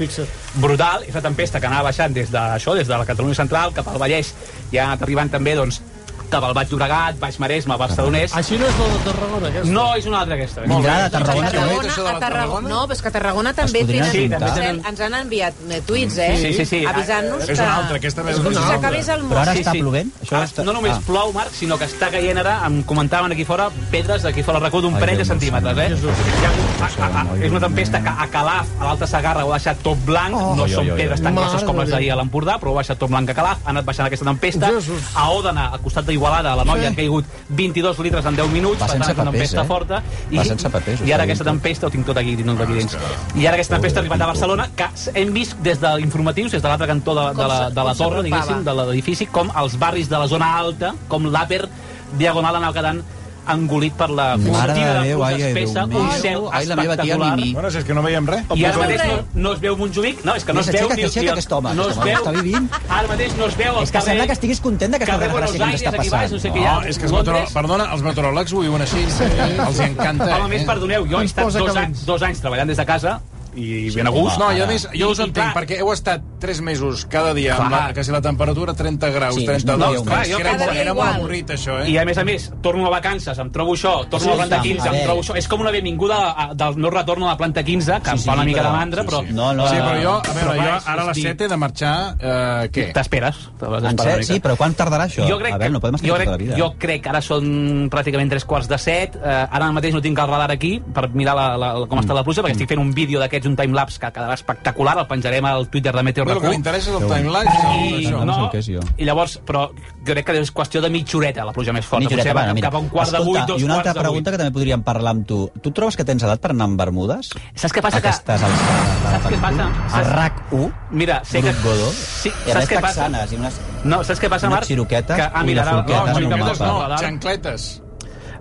Brutal. És una tempesta que anava baixant des de, això, des de la Catalunya Central cap al Vallès. I ha anat arribant també, doncs, cap al Baix Llobregat, Baix Maresme, Barcelonès. Així Ah, no és la de Tarragona, aquesta? No, és una altra aquesta. Vindrà de Tarragona. Tarragona, a Tarragona... No, però és que a Tarragona també podrien tenen... ajuntar. ens han- Ens han enviat eh, tuits, eh? Sí, sí, sí. Avisant-nos que... És una altra, aquesta més Si una altra. s'acabés el Però món. ara està plovent? Això Ara, està- No només Ah. plou, Marc, sinó que està caient ara, em comentaven aquí fora, pedres d'aquí fora al racó Ai, d'un parell de Déu meu centímetres, eh? Hi ha hagut- a- a- a- És una tempesta que a Calaf, a l'Alta Sagarra, ho ha deixat tot blanc. No Oh. Ai, són ai, ai, pedres tan ai. grosses com Mare les de d'ahir Déu. a l'Empordà, però ho ha deixat tot blanc a Calaf. Ha anat baixant aquesta tempesta. Jesús. A Òdena, al costat d'Igualada, a la noia han caigut 22 litres en 10 minuts. Va per tant, sense és una papers, tempesta eh? forta. Va sense papers, ho Ah, I està ara aquesta dient. tempesta, ho tinc tot aquí, tinc tot aquí dins. I ara aquesta tempesta ha arribat a Barcelona, que hem vist des d'informatius, des de l'altre cantó de, de, la, de la Com se- com torre, diguéssim, s'apropava. de l'edifici, com els barris de la zona alta, com l'Aper Diagonal anava quedant engolit per la Mare de cortina de Déu, pluja ai, ai, espessa, Déu un meu. cel Ai, la meva tia espectacular. Mimi. Bueno, si és que no veiem res. I ara mateix no, no es veu Montjuïc? No, és que no Mira, es veu s'aixeca, ni... s'aixeca ni- aquest home, No es aquest home veu... està vivint. Ara mateix no es veu el És que sembla que estiguis content de que carrer estàs Buenos regressant Aires, que està aquí baix, passant. no sé què hi ha. No, Oh, és que els meteorò... Londres. Perdona, els meteoròlegs ho diuen així. Sí. Els hi encanta. eh? Home, a més, perdoneu, jo he Ens estat posa dos, calents. anys, dos anys treballant des de casa i ben a Gust, gust. no, Ah, i a més, jo I- us i entenc, clar, perquè heu estat 3 mesos cada dia, amb la, Clar. quasi la temperatura 30 graus, Sí, 32, no, 30, clar, jo que era, cada molt- dia era molt igual. avorrit, això, eh? I a més a més, torno a vacances, em trobo això, torno a la planta sí, 15, em a trobo veure. això. És com una benvinguda a- del meu retorn a la planta 15, que Sí, em sí, fa una mica de però- mandra, sí, però... sí. No, no, sí, però jo, a però veure, jo vaja, ara a és les dir- 7 he de marxar, eh, què? T'esperes. En sèrio? Sí, però quan tardarà això? Jo crec, a veure, no podem estar jo, aquí crec, tota la vida. jo crec que ara són pràcticament tres quarts de set. Eh, ara mateix no tinc el radar aquí per mirar la, la, la, Mm. com està la pluja, perquè estic fent un vídeo d'aquests, un timelapse, que quedarà espectacular. El penjarem al Twitter de Meteo Bé, el que RQ. m'interessa és el timeline. I, això. no, No sé què és, jo. I llavors, però crec que és qüestió de mitja horeta, la pluja més forta. Mitja horeta, Potser va bueno, mira. cap a un quart de vuit, dos I una altra quarts de vuit. pregunta que també podríem parlar amb tu. Tu trobes que tens edat per anar amb bermudes? Saps què passa? Que... Aquestes alçades de la Saps què pel·lícula? passa? A Saps- RAC1? Mira, sé que... Grup Godó? Sí, I a saps més què passa? texanes i unes... No, saps què passa, Unes Marc? xiroquetes, que, ah, unes mira, ara- forquetes, oh, No, no, xiroquetes xiroquetes, no, radar. xancletes.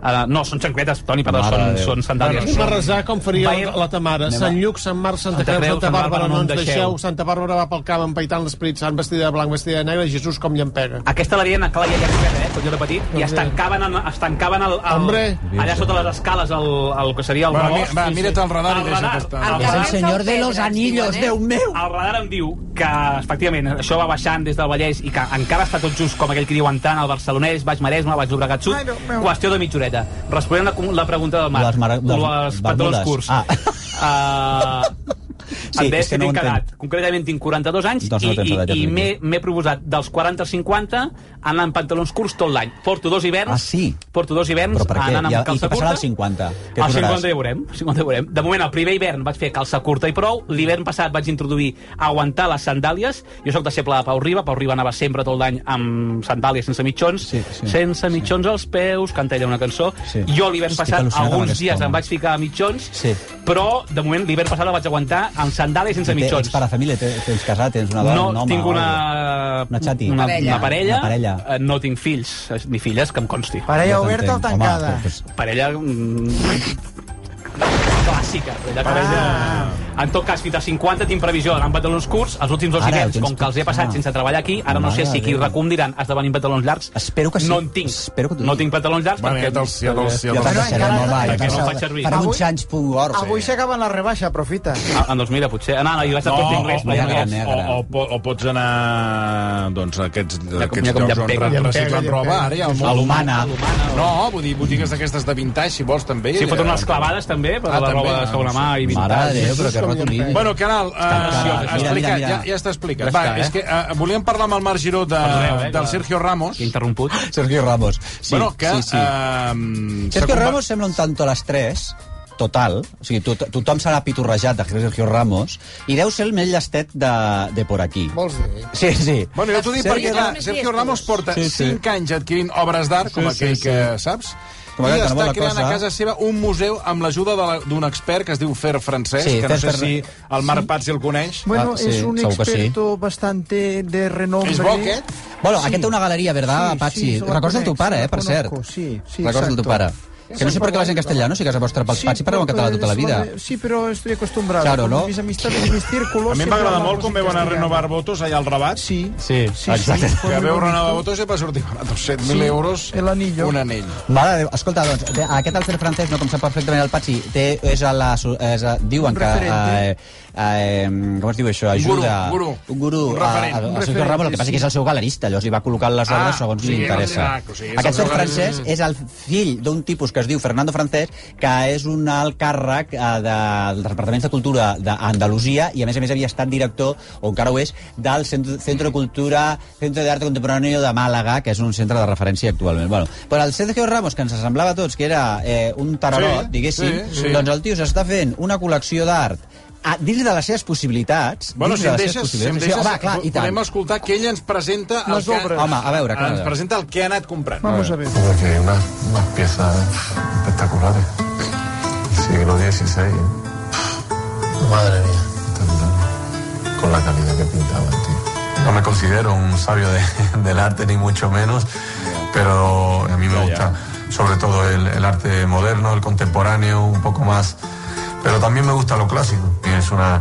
Ah, no, són xancletes, Toni, perdó, Mare de són, Déu. són sandàlies. Anem a resar com faria Bayer- la, la Tamara. Sant Lluc, Sant Marc, Santa Creu, Santa Bàrbara, no ens deixeu. Santa Bàrbara va pel camp empaitant l'esperit sant, vestida de blanc, vestida de negre, i Jesús com llampega. Aquesta l'havien a Cala i allà Ribera, eh, quan jo era petit, Doncs i es tancaven, en, es tancaven el, el, Hombre. allà sota les escales, el, el que seria el Va, rebost. mi- va, mira't el radar i deixa't estar. El És radar, el Abans senyor del de los Pedro, ens anillos, diuen, eh? Déu meu! el radar em diu que, efectivament, això va baixant des del Vallès i que encara està tot just, com aquell que diuen tant, el Barcelonès, Baix Maresme, Baix Llobregat Sud, qüestió de mitja horeta. Responent la, la pregunta del Marc, Les mare- les les pantalons bermudes. curts. Ah. Uh, Sí, em deies és que que no ho tinc entenc. quedat. Concretament tinc 42 anys Doncs no tens i, edat, ja t'ho i, i dic. m'he m'he proposat dels 40 als 50 anar amb pantalons curts tot l'any. Porto dos hiverns. Ah, sí? Porto dos hiverns Però per què? anant I, amb I calça què passarà curta. Ah, als 50? Què Al duraràs? 50 ja veurem, 50 ja veurem. De moment, el primer hivern vaig fer calça curta i prou. L'hivern passat vaig introduir aguantar les sandàlies. Jo sóc deixeble de Pau Riba. Pau Riba anava sempre tot l'any amb sandàlies sense mitjons. Sí, sí. sense mitjons als peus, canta ella una cançó. Sí. Jo l'hivern Estic passat, al·lucinat amb alguns aquest dies home. em vaig ficar a mitjons, Sí. però de moment l'hivern passat el vaig aguantar amb sandàlies sense Té- mitjons. Ets pare de família, tens, tens casat, tens una dona, No, un home... tinc o una... Una xati. Una, Parella. una parella. Una parella. Eh, No tinc fills, eh, ni filles, que em consti. Parella Ja oberta o t'entenc. tancada? Home, doncs, parella... mm, clàssica. Parella clàssica. En tot cas, fins a 50 tinc previsió d'anar amb pantalons curts. Els últims dos Ara, hiverns, tens com que els he passat clar. sense treballar aquí, ara no Mare sé si aquí Déu. RACUM diran has de venir amb pantalons llargs. Espero que sí. No en tinc. Espero que t'ho no digui. tinc pantalons llargs Bueno, ja perquè... te'ls... Ja te'ls... Ja Ja te'ls te'ls... deixarem encara- al ball. perquè no passa- faig servir. Per Avui- dutxans.org. Avui s'acaben les rebaixes, aprofita. Ah, ah, doncs mira, potser... Ah, no, no, jo vaig estar tot o, inglès. o, però ja no, no, veurem. o, o, o, o pots anar doncs, a aquests, a com- aquests mira com llocs on llampega, re- llampega, reciclen llampega. roba, ara ja el A món... l'humana. No, vull dir, botigues d'aquestes de vintage, si vols, també. Eh, Sí, foten Ja. unes clavades, també, per Ah, la roba també, de segona no, mà Mare i vintage. de Déu, però que ratolí. Bueno, Caral, eh, preciós, mira, explica, mira, mira. ja, ja està explicat. Ja Va, està, eh? és que eh, volíem parlar amb el Marc Giró de, Perdoneu, eh, del que- Sergio Ramos. Que he interromput. Sergio Ramos. Sí, bueno, que... sí, sí. Eh, Sergio s'ha Ramos sembla un tanto a les 3, total. O sigui, to tothom se l'ha pitorrejat de Sergio Ramos i deu ser el més llestet de, de por aquí. Vols dir? Sí, sí. Bueno, jo t'ho dic Sergio perquè Ra- clar, Sergio Ramos porta Sí, 5 sí. anys adquirint obres d'art, com Sí, sí, aquell sí. que saps, Com i aquell que no vol està la creant a cosa. casa seva un museu amb l'ajuda de la- d'un expert que es diu Fer Francesc, Sí, que no Fer sé Fer- si el Marc Patzi el coneix. Bueno, Ah, sí, es un segur que sí. experto bastante de renombre. És bo, aquest? Bueno, sí. aquest té una galeria, ¿verdad, sí, Patxi? se la Records conec, del tu pare, se la eh, per conozco, cert. Sí, sí, Records del exacto. tu pare. Que no sé por qué vas en castellano, si que has apostat pels pats i parleu en català tota la vida. Sí, pero estoy acostumbrado. Claro, Con ¿no? Mis amistades y mis círculos... A mi em va siempre agradar hablamos molt com en vam anar a castellano. renovar votos allà al Rabat. Sí, sí, sí, exacte. Que Fue muy veu renovar bonito. votos i va sortir a 200.000 Sí, euros el anillo. un anell. Mare de Déu. Escolta, doncs, té- aquest alfer francès, no com sap perfectament el Patxi, té, és a la... su- És a, diuen que... Eh, referente. eh, com es diu això? Un gurú, Ajuda... un gurú. Un gurú. Un a, referent. a, Un a Sergio referent, Ramos, el que sí, passa que és el seu galerista, llavors li va col·locar les Ah, obres segons sí, li interessa. exacte, o sigui, és el Aquest seu fer francès galerista. és el fill d'un tipus que es diu Fernando Francès, que és un alt càrrec eh, de, del Departament de Cultura d'Andalusia i, a més a més, havia estat director, o encara ho és, del Centro, Centro de Cultura, Centro de Arte Contemporáneo de Màlaga, que és un centre de referència actualment. Bueno, però el Sergio Ramos, que ens semblava a tots que era eh, un tararot, Sí, diguéssim, sí, sí. doncs el tio s'està fent una col·lecció d'art a, dins de les seves possibilitats... Bueno, dins si de em les seves deixes, si em possibilitats. deixes Sí, home, clar, i tant. podem escoltar que ell ens presenta... el Les que ha- obres. Home, a veure, clar. Ens presenta el que ha anat comprant. Vamos a ver. Porque unas, unas piezas espectaculares. Siglo XVI. ¿eh? Madre mía. Con la calidad que pintaban, tío. No me considero un sabio de- del arte, ni mucho menos, pero a mí me gusta sobre todo el, el arte moderno, el contemporáneo, un poco más. Pero también me gusta lo clásico, que es una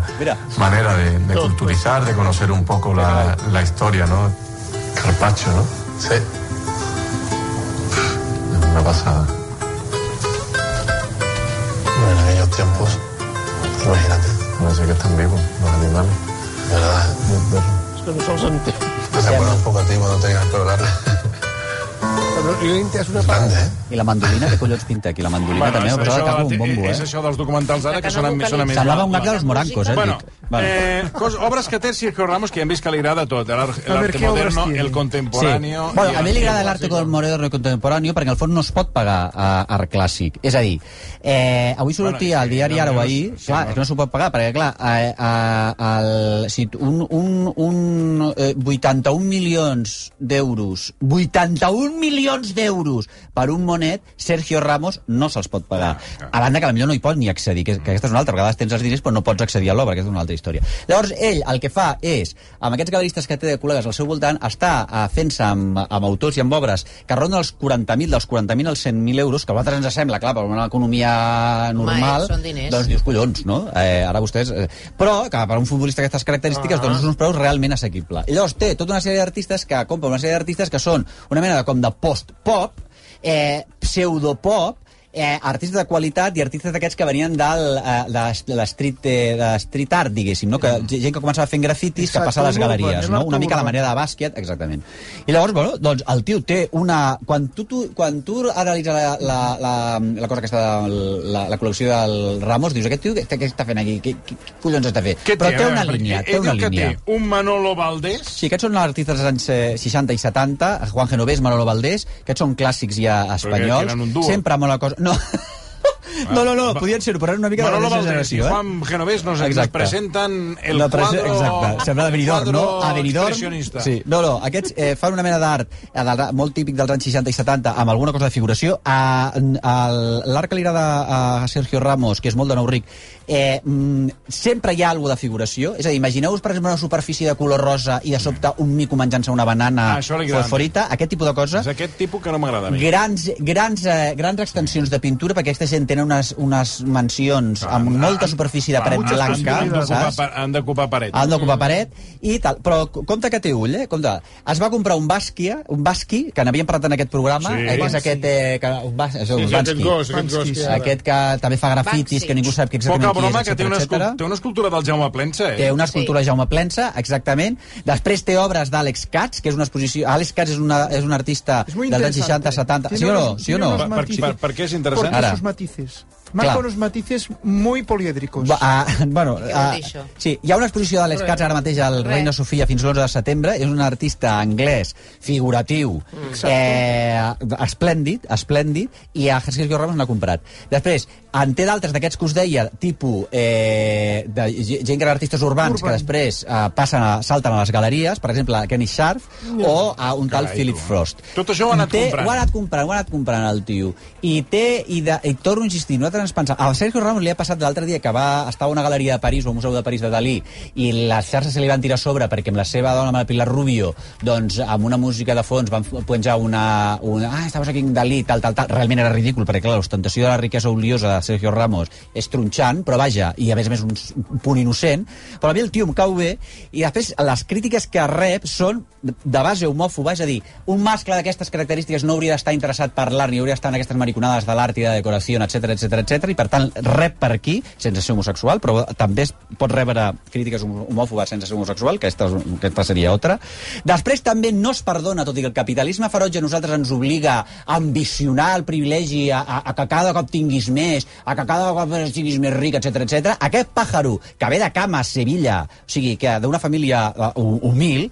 manera de, de culturizar, de conocer un poco la, la historia, ¿no? Carpacho, ¿no? Sí. Una pasada. Bueno, en aquellos tiempos, imagínate. No sé que están vivos los animales. ¿Verdad? És que no se'ls entén. ¿Te acuerdas un poco a ti cuando tenías el pelo largo? Però jo he entès una part. ¿eh? I la mandolina, què collons pinta aquí? La mandolina Bueno, també, és, em posava això, cap un de- bombo, eh? és això dels documentals ara que sonen, sonen més... Semblava un gag dels morancos, eh? Bueno, dic. eh, cos, obres que té Sergio Ramos, que ja hem vist que li agrada tot. A ver, L'arte ¿qué obres moderno, tiene? el contemporáneo... Sí. Bueno, a mi li agrada l'art... l'art moderno i contemporani perquè al fons no es pot pagar a art clàssic. És a dir, eh, avui sortia al diari Ara o ahir, clar, és que no s'ho pot pagar, perquè clar, eh, eh, el, si tu- un, un, un eh, 81 milions d'euros, 81 milions d'euros per un monet, Sergio Ramos no se'ls pot pagar. A banda que potser no hi pot ni accedir, que, que aquesta és una altra, a vegades tens els diners però no pots accedir a l'obra, aquesta és una altra història. Llavors, ell el que fa és, amb aquests galeristes que té de col·legues al seu voltant, està eh, fent-se amb, amb autors i amb obres que ronden els 40.000, dels 40.000 als 100.000 euros, que a vosaltres ens sembla, clar, per una economia normal, eh, són diners. doncs dius, collons, no? Eh, ara vostès... Eh, però, que per un futbolista d'aquestes característiques, Ah. doncs són uns preus realment assequibles. I llavors té tota una sèrie d'artistes que compra una sèrie d'artistes que són una mena de, com de post-pop, eh, pseudopop, eh, artistes de qualitat i artistes d'aquests que venien del, eh, de, de, street, eh, de street art, diguéssim, no? que, gent que començava fent grafitis que Mm. Exacte, passa a les un urban, galeries, un no? art una mica a la urbà. manera de bàsquet, exactament. I llavors, bueno, doncs el tio té una... Quan tu, tu, quan tu analitzes la, la, la, la cosa que està de, la, la col·lecció del Ramos, dius, aquest tio què, què està fent aquí? Què, què, què collons està fent? Però té una línia, té una línia. Té un Manolo Valdés, Sí, aquests són artistes dels anys eh, 60 i 70, Juan Genovés, Manolo Valdés, aquests són clàssics ja espanyols. eren un duo. Ah, Sempre molt la cosa... No. No, no, no, podien ser-ho, però eren una mica Manolo de la mateixa Valdés i generació. Eh? Juan Genovés nos, ens Exacte. presenten el No, però això- quadro... Exacte, sembla de Benidorm, no? A Benidorm... Sí. Sí. No, no, aquests eh, fan una mena d'art eh, del- molt típic dels anys 60 i 70 amb alguna cosa de figuració. A- a- L'art que li agrada a Sergio Ramos, que és molt de nou ric, eh, mm, sempre hi ha alguna de figuració. És a dir, imagineu-vos, per exemple, una superfície de color rosa i de sobte un mico menjant-se una banana Ah, això li agrada. fosforita, aquest tipus de cosa. És aquest tipus que no m'agrada a mi. Grans, grans, eh, grans extensions de pintura, perquè aquesta gent tenen unes, unes mansions Ah, amb molta superfície de paret Muchos blanca. ah, han d'ocupar saps? Ah, pa- Han d'ocupar paret. Han Mm. d'ocupar paret i tal. Però co- compte que té ull, eh? Compte. Es va comprar un basquia, un basqui, que n'havíem parlat en aquest programa, Sí. eh, que és aquest... Eh, que, un bas, això, Sí, un sí, aquest Bansky. gos, aquest gos que hi ha. Aquest que també fa grafitis, Banksy. que ningú sap que exactament Poca qui broma, és, que té una, etcètera, escul- té una escultura del Jaume Plensa, eh? Té una escultura de Jaume Plensa, exactament. Després té obres d'Àlex Katz, que és una exposició... Àlex Katz és, una, és un artista És muy dels anys interesante. 60-70. Sí Tiene o no? unos- Sí o no? tiene unos Per- per- matices. per qué es interesante? Porque Ahora. sus matices. Marca Claro. unos matices muy poliédricos. Va, ah, bueno, vol ah, dir això? sí, hi ha una exposició d'Àlex Katz ara mateix al Res. Reina Sofia fins l'11 de setembre. És un artista anglès, figuratiu, eh, esplèndid, esplèndid, i a Sergio Ramos n'ha comprat. Després, en té d'altres d'aquests que us deia, tipus eh, de ge- gent que eren artistes urbans Urban. que després eh, passen a, salten a les galeries, per exemple, a Kenny Sharp o a un tal Carai, Philip tu. Frost. Tot això ho ha anat té, comprant. Ho ha anat comprant, ho ha anat comprant el tio. I té, i, de, i torno a insistir, nosaltres nosaltres ens pensàvem... A Sergio Ramos li ha passat l'altre dia que va estar a una galeria de París o a un museu de París de Dalí i les xarxes se li van tirar a sobre perquè amb la seva dona, amb la Pilar Rubio, doncs amb una música de fons van penjar una... una ah, estaves aquí en Dalí, tal, tal, tal. Realment era ridícul perquè, clar, l'ostentació de la riquesa oliosa de Sergio Ramos és tronxant, però vaja, i a més a més un, s- un punt innocent. Però a mi el tio em cau bé i després les crítiques que rep són de- de base homòfoba, és a dir, un mascle d'aquestes característiques no hauria d'estar interessat per l'art ni hauria d'estar en aquestes mariconades de l'art i de decoració, etc etc etc i per tant rep per aquí sense ser homosexual, però també es pot rebre crítiques hom- homòfobes sense ser homosexual, que aquesta, és- aquesta seria altra. Després també no es perdona, tot i que el capitalisme ferotge a nosaltres ens obliga a ambicionar el privilegi, a, a, a que cada cop tinguis més, a que cada cop siguis més ric, etc etc. Aquest pàjaro que ve de Cama, Sevilla, o sigui, que d'una família eh, hu- humil,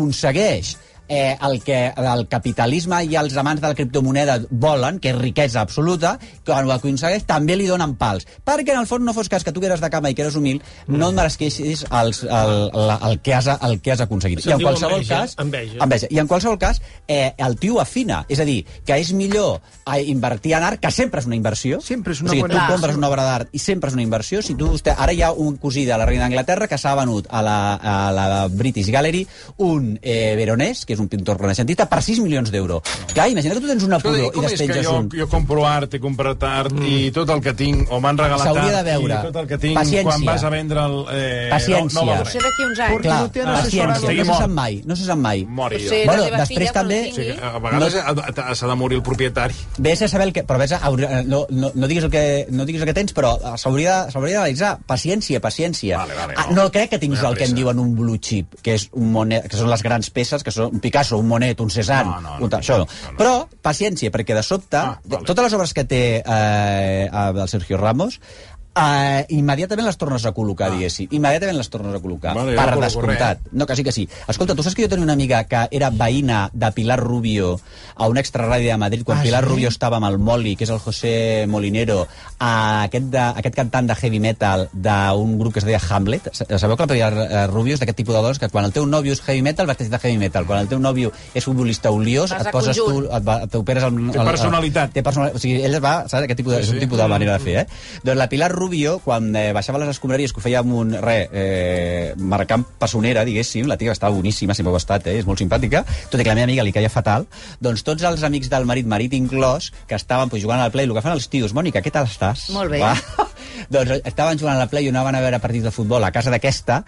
aconsegueix eh, el que el capitalisme i els amants de la criptomoneda volen, que és riquesa absoluta, quan ho aconsegueix també li donen pals. Perquè en el fons no fos cas que tu que eres de cama i que eres humil, no et meresqueixis els, el, el, el, que has, el que has aconseguit. Se'n I en diu qualsevol enveja, cas... enveja. enveja. I en qualsevol cas, eh, el tio afina. És a dir, que és millor eh, invertir en art, que sempre és una inversió. Sempre és una o sigui, bona tu inversió. compres una obra d'art i sempre és una inversió. Si tu, vostè, ara hi ha un cosí de la reina d'Anglaterra que s'ha venut a la, a la British Gallery un eh, veronès, que és un pintor renaixentista, per 6 milions d'euros. Clar, imagina que tu tens una Escolta, i pudor i com és que despenges jo, un. jo compro art, he comprat art mm. i tot el que tinc, o m'han regalat art, S'hauria de veure. i tot el que tinc Paciència. quan vas a vendre el... Eh, Paciència. No, no Això val res. d'aquí uns anys. Clar, paciència, Estigui no se mort. sap mai, no se sap mai. Mori O jo. sigui, la Bueno, teva després filla, quan també- tingui- O sigui, que a vegades ha- s'ha de morir el propietari. Vés a saber el que... Però vés a, haurà- no, no, no, diguis el que, no diguis el que tens, però eh, s'hauria de- s'hauria d'analitzar. Paciència, paciència. Vale, vale, no. Ah, no crec que tinguis No hi ha el que en pressa. diuen un blue chip, que, és un monet, que són les grans peces, que són un Picasso, un Monet, un Cézanne... No, no, no, un tal, això no. Però, paciència, perquè de sobte, ah, vale. totes les obres que té eh, el Sergio Ramos, Uh, immediatament les tornes a col·locar, ah. diguéssim. Immediatament les tornes a col·locar. Vale, Vale, jo no per col·loco descomptat. No, que sí que sí. Escolta, tu saps que jo tenia una amiga que era veïna de Pilar Rubio a un extraradi de Madrid, quan Ah, Pilar sí? Rubio estava amb el Moli, que és el José Molinero, a aquest, de, aquest cantant de heavy metal d'un grup que es deia Hamlet. Sa- Sabeu que la Pilar eh, Rubio és d'aquest tipus de dones que quan el teu nòvio és heavy metal, vas de heavy metal. Quan el teu nòvio és futbolista oliós, Vas et a poses tu, conjunt. et, va- et operes... El, el, Té personalitat. Té personalitat. O sigui, ella va, saps, aquest tipus de, Sí, és un sí. tipus de manera de fer, eh? Doncs la Pilar Rubio, quan eh, baixava les escombraries, que ho feia amb un, re, eh, marcant passonera, diguéssim, la tia estava boníssima, sempre ho ha estat, eh? és molt simpàtica, tot i que la meva amiga li caia fatal, doncs tots els amics del marit, marit inclòs, que estaven pues, jugant al play, el que fan els tios, Mònica, què tal estàs? Molt bé. Va. Doncs estaven jugant a la Play i anaven a veure partits de futbol a casa d'aquesta.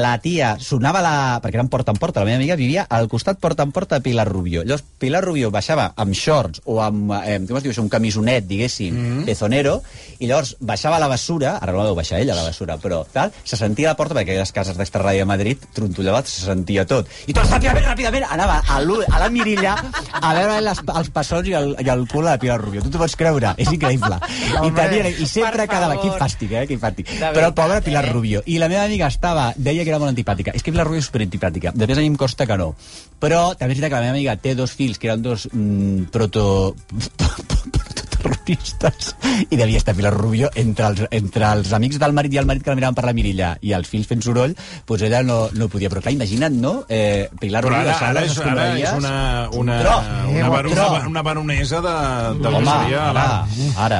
La tia sonava la... Perquè eren porta en porta. La meva amiga vivia al costat porta en porta de Pilar Rubio. Llavors, Pilar Rubio baixava amb shorts o amb... Eh, com es diu això? Un camisonet, diguéssim, mm -hmm. pezonero. I llavors baixava a la bessura. Ara no la deu baixar ella, a la bessura, però tal. Se sentia a la porta, perquè les cases d'Extra Ràdio de Madrid trontollava, se sentia tot. I tot ràpidament, ràpidament, anava a, l'ull- a la mirilla a veure les, els passons i el, i el cul de la Pilar Rubio. Tu t'ho pots creure? És increïble. I, tenia, i sempre quedava... Quin fàstic, eh? Quin fàstic. Però pobra Pilar Rubio. I la meva amiga estava... Deia que era molt antipàtica. És que Pilar Rubio és superantipàtica. De més, a mi em costa que no. Però també és veritat que la meva amiga té dos fills que eren dos mm, proto... prototerroristes. I devia estar Pilar Rubio entre els, entre els amics del marit i el marit que la miraven per la mirilla i els fills fent soroll, doncs ella no, no podia. Però clar, imagina't, no? Eh, Pilar Però Rubio ara, baixant ara, les és, ara és escombraries. una, una, Tro. una, bar- una, Tro. bar- una baronesa de, de Home, bruixeria a ara, l'art. ara.